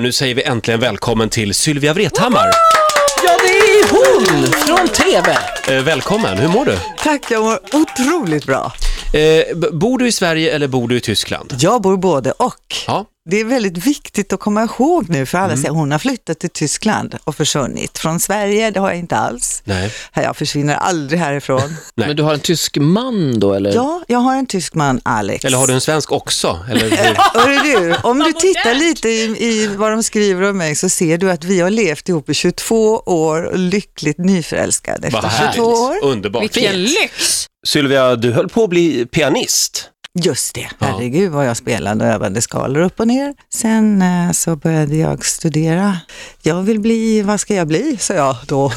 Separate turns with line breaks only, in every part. nu säger vi äntligen välkommen till Sylvia Vrethammar.
Ja, det är hon från TV.
Eh, välkommen, hur mår du?
Tack, jag mår otroligt bra.
Eh, b- bor du i Sverige eller bor du i Tyskland?
Jag bor både och.
Ja,
Det är väldigt viktigt att komma ihåg nu, för alla
Mm.
säger hon har flyttat till Tyskland och försvunnit. Från Sverige, det har jag inte alls.
nej.
Jag försvinner aldrig härifrån.
Nej.
Men du har en tysk man då eller?
ja, jag har en tysk man, Alex.
Eller har du en svensk också? Eller hur?
Hörru du, om du tittar lite i, i vad de skriver om mig så ser du att vi har levt ihop i 22 år och lyckligt nyförälskade
Vad
efter 22 år.
härligt, underbart.
Vilken lyx!
Sylvia, du höll på att bli pianist.
Just det, herregud vad jag spelade och övade skalor upp och ner. Sen eh, så började jag studera. Jag vill bli, vad ska jag bli, sa jag då.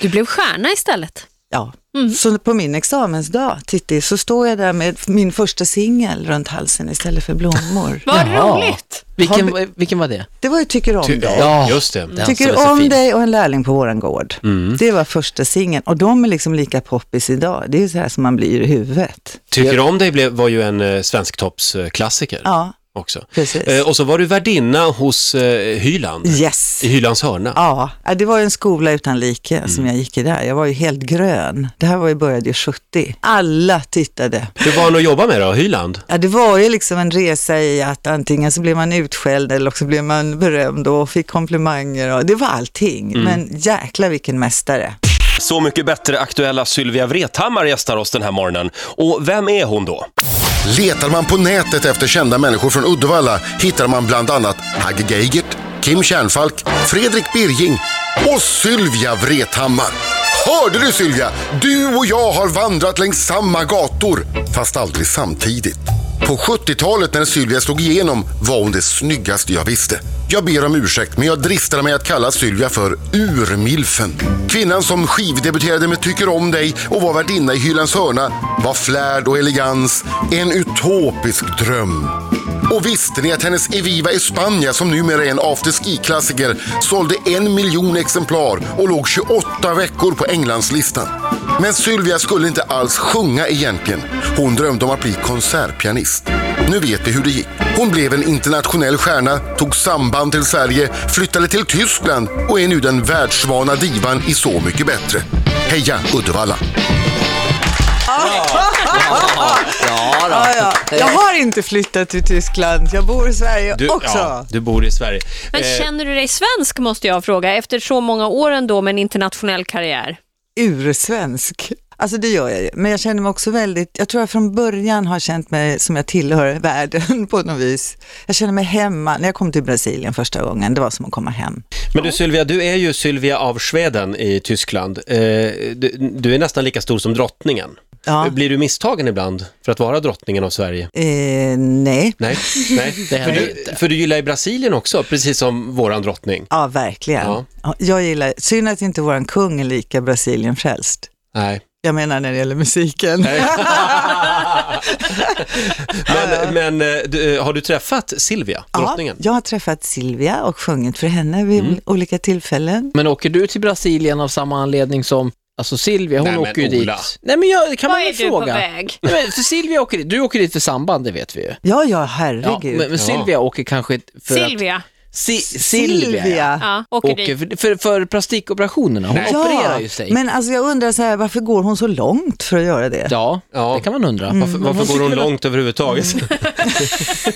Du blev stjärna istället.
Ja. Så på min examensdag, Titti, så står jag där med min första singel runt halsen istället för blommor.
Vad
Jaha.
roligt!
Vilken, vilken var det?
Det var ju Tycker om
Ty-
dig.
Ja, just det.
Mm.
Den som är så
Tycker om
fin.
dig och en lärling på våran gård. Det var första singeln och de är liksom lika poppis idag. Det är ju så här som man blir i huvudet.
Tycker om dig blev, var ju en eh, svensktoppsklassiker
Ja,
också.
precis.
Eh, och så var du värdinna hos eh, Hyland,
Yes.
i Hylands hörna.
Ja, äh, det var ju en skola utan like som jag gick i där. Jag var ju helt grön. Det här var ju började ju 70. Alla tittade.
Hur var han att jobba med då, Hyland?
Ja, det var ju liksom en resa i att antingen så blev man utskälld eller också blev man berömd och fick komplimanger. Och det var allting. Men jäkla vilken mästare.
Så mycket bättre aktuella Sylvia Vrethammar gästar oss den här morgonen. Och vem är hon då?
Letar man på nätet efter kända människor från Uddevalla hittar man bland annat Hagge Geigert, Kim Kärnfalk, Fredrik Birging och Sylvia Vrethammar. Hörde du Sylvia? Du och jag har vandrat längs samma gator, fast aldrig samtidigt. På 70-talet när Sylvia slog igenom var hon det snyggaste jag visste. Jag ber om ursäkt, men jag dristar mig att kalla Sylvia för urmilfen. Kvinnan som skivdebuterade med Tycker om dig och var värdinna i Hylands hörna var flärd och elegans, en utopisk dröm. Och visste ni att hennes Eviva España, som numera är en afterski-klassiker, sålde en miljon exemplar och låg 28 veckor på Englandslistan? Men Sylvia skulle inte alls sjunga egentligen. Hon drömde om att bli konsertpianist. Nu vet vi hur det gick. Hon blev en internationell stjärna, tog samband till Sverige, flyttade till Tyskland och är nu den världsvana divan i Så mycket bättre. Heja Uddevalla!
Ja, då.
Ja,
Eh.
ja. Jag har inte flyttat till Tyskland. Jag bor i Sverige också.
Ja, du bor i Sverige.
Men
Eh.
känner du dig svensk måste jag fråga, efter så många år ändå med en internationell karriär?
ursvensk. Alltså det gör jag ju, men jag känner mig också väldigt, jag tror jag från början har känt mig som jag tillhör världen på något vis. Jag känner mig hemma, när jag kom till Brasilien första gången, det var som att komma hem.
Men du Sylvia, du är ju Sylvia av Sweden i Tyskland. Eh, du, du är nästan lika stor som drottningen.
Ja.
Blir du misstagen ibland för att vara drottningen av Sverige?
Eh, nej,
Nej, nej.
Det händer
för, du,
inte.
för du gillar ju Brasilien också, precis som våran drottning.
ja verkligen.
Ja.
Ja, Jag gillar, synd att inte våran kung är lika Brasilien frälst.
Nej.
Jag menar när det gäller musiken.
Men, men eh, du, har du träffat Silvia,
Ja,
drottningen?
jag har träffat Silvia och sjungit för henne vid
Mm.
olika tillfällen.
Men åker du till Brasilien av samma anledning som Alltså Silvia, hon
Nej, men
åker ju
Ola.
dit. Nej men jag, det kan
Vad
man
är
väl
du på
fråga.
väg?
Nej, men för Silvia åker dit, du åker dit för samband, det vet vi ju.
Ja, ja,
Ja,
herregud.
men, men Silvia åker kanske för
Silvia,
att... Si, Silvia, ja.
ja, åker
åker
dit.
för, för, för plastikoperationerna. Hon opererar ju sig.
Men alltså jag undrar så här, varför går hon så långt för att göra det?
Ja,
Ja.
det kan man undra.
Varför,
Mm,
varför går hon långt överhuvudtaget?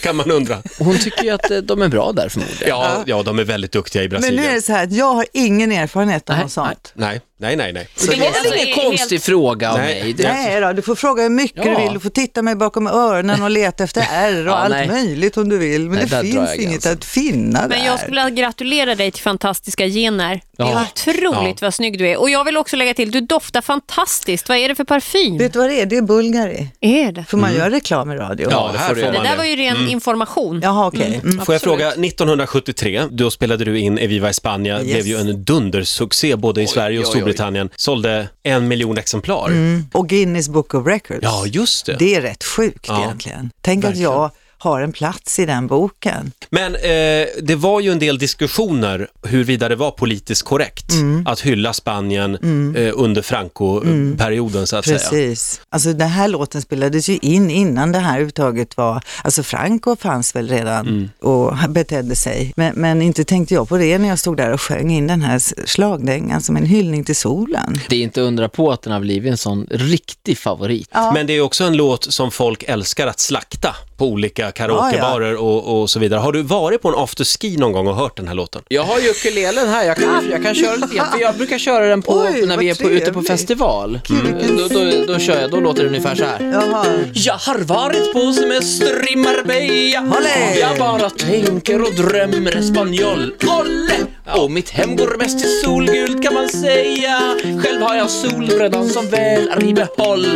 kan man undra.
Hon tycker ju att eh, de är bra där förmodligen.
Ja, ja, de är väldigt duktiga i
Men
Brasilien.
nu är det så här att jag har ingen erfarenhet av
Nej,
något sånt.
Nej, nej, nej. nej.
Så det var väl
Alltså,
ingen
det är
konstig
helt-
fråga av
Nej.
mig. Det-
Nej då, du får fråga hur mycket
Ja.
du vill, du får titta mig bakom öronen och leta efter R och
Ja,
allt
nej.
möjligt om du vill. Men
Nej,
det
där drar
finns
jag
inget
gränsen.
att finna
Men
där.
jag skulle gratulera dig till fantastiska gener. Det är
Ja.
otroligt vad snygg du är. Och jag vill också lägga till, du doftar fantastiskt. Vad är det för parfym?
Vet du vad det är? Det är Bulgari.
är det?
Får man göra reklam i radio?
Ja,
Mm. det
här
får du
får
göra.
Det
man
där
det.
var ju
Mm.
ren information.
Jaha, okej. Mm.
Får jag fråga, 1973, då spelade du in Eviva España,
Yes.
blev ju en dundersuccé både i Sverige och
oj, oj.
Storbritannien, sålde en miljon exemplar.
Och Guinness Book of Records.
Ja, just det.
Mm. Det är rätt sjukt
Ja,
egentligen. Tänk att jag har en plats i den boken.
Men eh, det var ju en del diskussioner huruvida det var politiskt korrekt
Mm.
att hylla Spanien eh, under Franco-perioden så att säga.
Precis. Alltså den här låten spelades ju in innan det här överhuvudtaget var, alltså Franco fanns väl redan
Mm.
och betedde sig. Men, men inte tänkte jag på det när jag stod där och sjöng in den här slagdängan som en hyllning till solen.
Det är inte undra på att den har blivit en sån riktig favorit.
Men det är också en låt som folk älskar att slakta på olika karaokebarer och, och så vidare. Har du varit på en afterski någon gång och hört den här låten?
Jag har ju ukulelen här, jag kan, jag kan köra lite grann, för jag brukar köra den på,
Oj,
när vi är
vad
på, ute på
trevligt.
festival. Mm. Då, då, då kör jag, då låter det ungefär så här.
Jaha.
Jag har varit på semester i Marbella
Olé!
Jag bara tänker och drömmer espanjol Olle! Och mitt hem går mest till solgult kan man säga Själv har jag solbrädan som väl är i behåll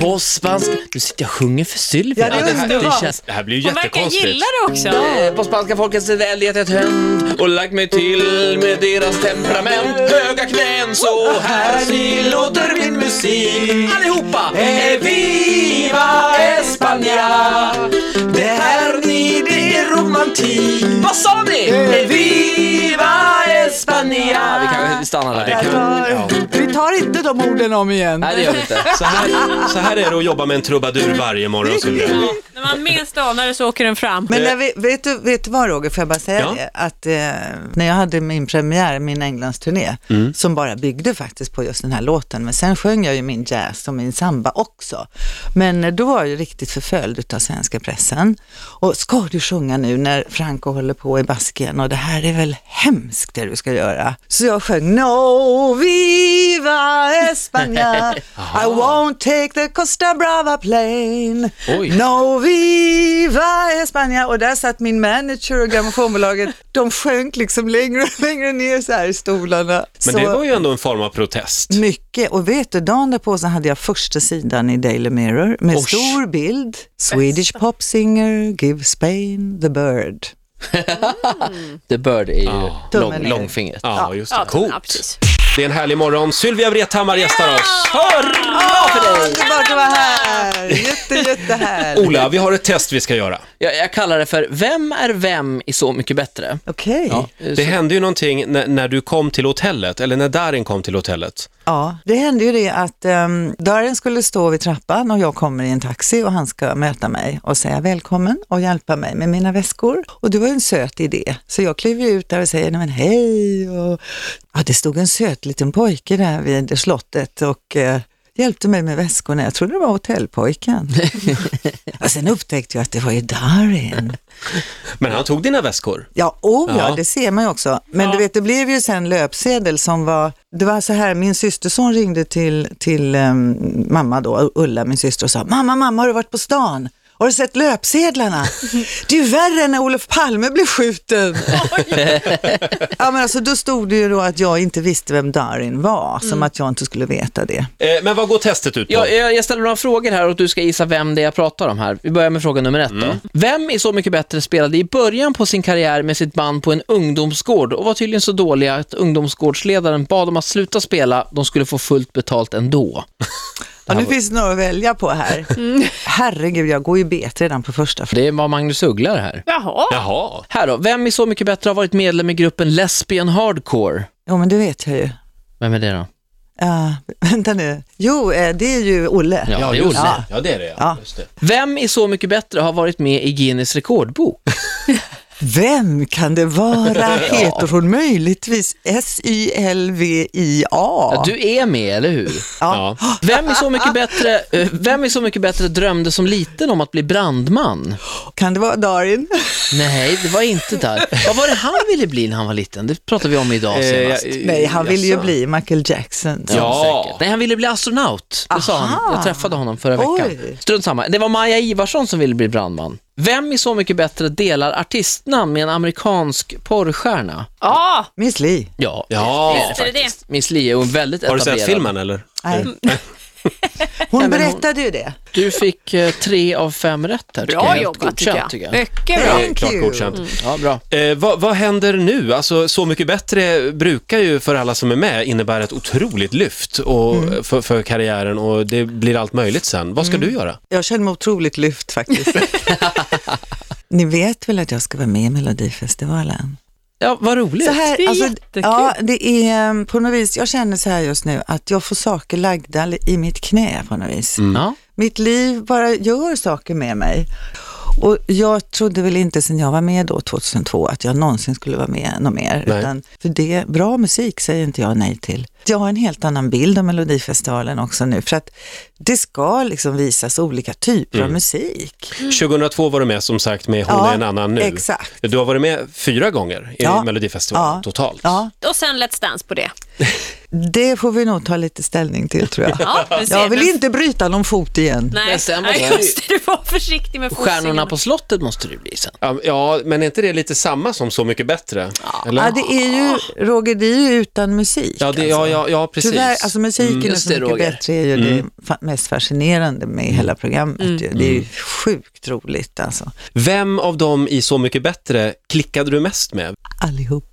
På spanska... Nu sitter jag och sjunger för Sylvia.
Ja, det är underbart.
känns...
Det här blir ju
Hon verkar
jättekonstigt.
gilla det också.
Eh, På spanska folkets vänlighet ett hönd och lagt mig till med deras temperament Höga knän så här ni låter min musik Allihopa! Eh, Viva España! Det här ni, det är romantik Vad sa ni? Viva España! Vi kan stanna där.
kan-
Tar, vi tar inte de orden om igen.
Nej, det gör vi inte.
Så här, så här är det att jobba med en trubadur varje morgon, Sylvia.
När man minst anar det så åker den fram.
Men när vi, vet, du, vet du vad Roger, får jag bara säga
Ja.
det? Att eh, när jag hade min premiär, min Englandsturné, som bara byggde faktiskt på just den här låten, men sen sjöng jag ju min jazz och min samba också. Men eh, då var jag ju riktigt förföljd utav svenska pressen. Och ska du sjunga nu när Franco håller på i Baskien och det här är väl hemskt det du ska göra? Så jag sjöng No Viva España, I won't take the Costa Brava plane.
Oj.
No Viva España och där satt min manager och grammofonbolaget. De sjönk liksom längre och längre ner så här i stolarna.
Men
så
det var ju ändå en form av protest.
Mycket och vet du, dagen därpå så hade jag första sidan i Daily Mirror med
Osh.
stor bild. Swedish pop singer, give Spain the bird.
The Bird är ju
Tummen ner.
långfingret.
Ja, just det.
Ja, ja,
Coolt.
precis.
Det är en härlig morgon. Sylvia Vrethammar gästar oss.
Hurra för dig!
Underbart att vara här! Jätte, jättehärligt.
Ola, vi har ett test vi ska göra.
Jag, jag kallar det för Vem är vem i Så mycket bättre? Eh,
Okej.
Ja,
Det hände ju någonting när, när du kom till hotellet, eller när Darin kom till hotellet.
Ja, det hände ju det att um, Darin skulle stå vid trappan och jag kommer i en taxi och han ska möta mig och säga välkommen och hjälpa mig med mina väskor. Och det var ju en söt idé, så jag kliver ut där och säger nej men hej och ja, det stod en söt liten pojke där vid slottet och eh, hjälpte mig med väskorna. Jag trodde det var hotellpojken. och sen upptäckte jag att det var ju Darin.
Men han tog dina väskor.
Ja, oh ja,
Ja.
det ser man ju också. Men du vet, det blev ju sen löpsedel som var, det var så här, min systerson ringde till, till em, mamma då, Ulla, min syster, och sa, mamma, mamma, har du varit på stan? Har du sett löpsedlarna? Det är ju värre än när Olof Palme blev skjuten. ja, men alltså, då stod det ju då att jag inte visste vem Darin var, som att jag inte skulle veta det.
Eh, men vad går testet ut på?
Jag, jag, jag ställer några frågor här och du ska gissa vem det är jag pratar om här. Vi börjar med fråga nummer ett då. Vem i Så mycket bättre spelade i början på sin karriär med sitt band på en ungdomsgård och var tydligen så dåliga att ungdomsgårdsledaren bad dem att sluta spela, de skulle få fullt betalt ändå.
Och nu finns det några att välja på här. Herregud, jag går ju bet redan på första frågan.
Det var Magnus Uggla det här.
Jaha.
Jaha.
Här då, vem i Så mycket bättre har varit medlem i gruppen Lesbian Hardcore?
Jo, men det vet jag ju.
Vem är det då?
Ja, vänta nu. Jo, eh, det är ju Olle.
Ja, det är Olle.
Ja, ja, det är det. Ja.
Ja.
Just det.
Vem i Så mycket bättre har varit med i Guinness rekordbok?
Vem kan det vara? Heter hon möjligtvis S-Y-L-V-I-A?
Ja, du är med, eller hur?
Ja.
Vem är så mycket bättre, eh, vem är så mycket bättre drömde som liten om att bli brandman?
Kan det vara Darin?
Nej, det var inte där. Eh, Vad var det han ville bli när han var liten? Det pratade vi om idag senast.
Nej, han ville ju bli Michael Jackson.
Ja.
Säkert. Nej, han ville bli astronaut. Det sa han. Jag träffade honom förra veckan.
Oj.
Strunt samma. Det var Maja Ivarsson som ville bli brandman. Vem i Så mycket bättre delar artistnamn med en amerikansk porrstjärna?
Ja,
Miss Li.
Ja,
Ja.
visst är det det.
Miss Li är ju väldigt
Har du
etablerad.
sett filmen eller?
Nej. Hon berättade ju det.
Du fick eh, tre av fem rätt här. tycker jag. Eh,
Bra
Helt
jobbat tycker
godkänt,
jag. Mycket bra.
Thank
klart
you.
godkänt.
Mm.
Ja, bra.
Eh, vad, vad händer nu? Alltså, Så mycket bättre brukar ju för alla som är med innebära ett otroligt lyft och,
Mm.
för, för karriären och det blir allt möjligt sen. Vad ska du göra?
Jag känner mig otroligt lyft faktiskt. Ni vet väl att jag ska vara med i Melodifestivalen?
Ja, vad roligt.
Så här,
Det är
alltså,
jättekul.
ja, det är eh, på något vis, jag känner så här just nu att jag får saker lagda i mitt knä på något vis.
Ja.
Mitt liv bara gör saker med mig. Och jag trodde väl inte sen jag var med då 2002 att jag någonsin skulle vara med något mer.
Nej.
Utan för det, bra musik säger inte jag nej till. Jag har en helt annan bild av Melodifestivalen också nu för att det ska liksom visas olika typer av musik.
Mm.
2002 var du med som sagt med Hon
Ja,
är en annan nu.
exakt.
Du har varit med fyra gånger i
Ja.
Melodifestivalen
Ja.
totalt.
Ja,
Och sen Let's Dance på det.
det får vi nog ta lite ställning till tror jag.
Ja, vi ser.
Jag vill
Men-
inte bryta någon fot igen.
Nej,
Men sen var
Nej,
det-
just det. Du var försiktig med
Stjärnorna
fossingen.
på slottet måste det bli sen.
Ja, Ja, men är inte det lite samma som Så mycket bättre? Eller?
Ja, det är ju, Roger, det är ju utan musik.
Ja, det, ja, ja, ja, precis.
Tyvärr, alltså musiken är
Just
så
det,
mycket
Roger. Mm.
bättre, är ju det fa- mest fascinerande med hela programmet. ju. Det är ju sjukt roligt alltså.
Vem av dem i Så mycket bättre klickade du mest med?
Allihop.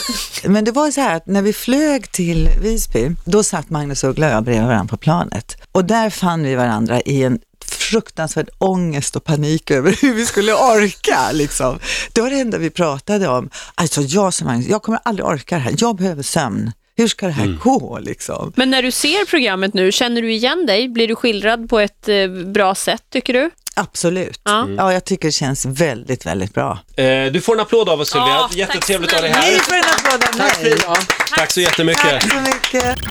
Men det var ju så här att när vi flög till Visby, då satt Magnus Uggla och jag bredvid varandra på planet. Och där fann vi varandra i en fruktansvärd ångest och panik över hur vi skulle orka. Liksom. Det var det enda vi pratade om. Alltså jag som Magnus, jag kommer aldrig orka det här. Jag behöver sömn. Hur ska det här
Mm.
gå liksom?
Men när du ser programmet nu, känner du igen dig? Blir du skildrad på ett eh, bra sätt, tycker du?
Absolut.
Ja.
Ja. jag tycker det känns väldigt, väldigt bra.
Eh, du får en applåd av oss Sylvia,
Ja, tack
jättetrevligt att ha dig
snälla.
här.
Ni får en applåd av mig.
Tack så jättemycket.
Tack så mycket.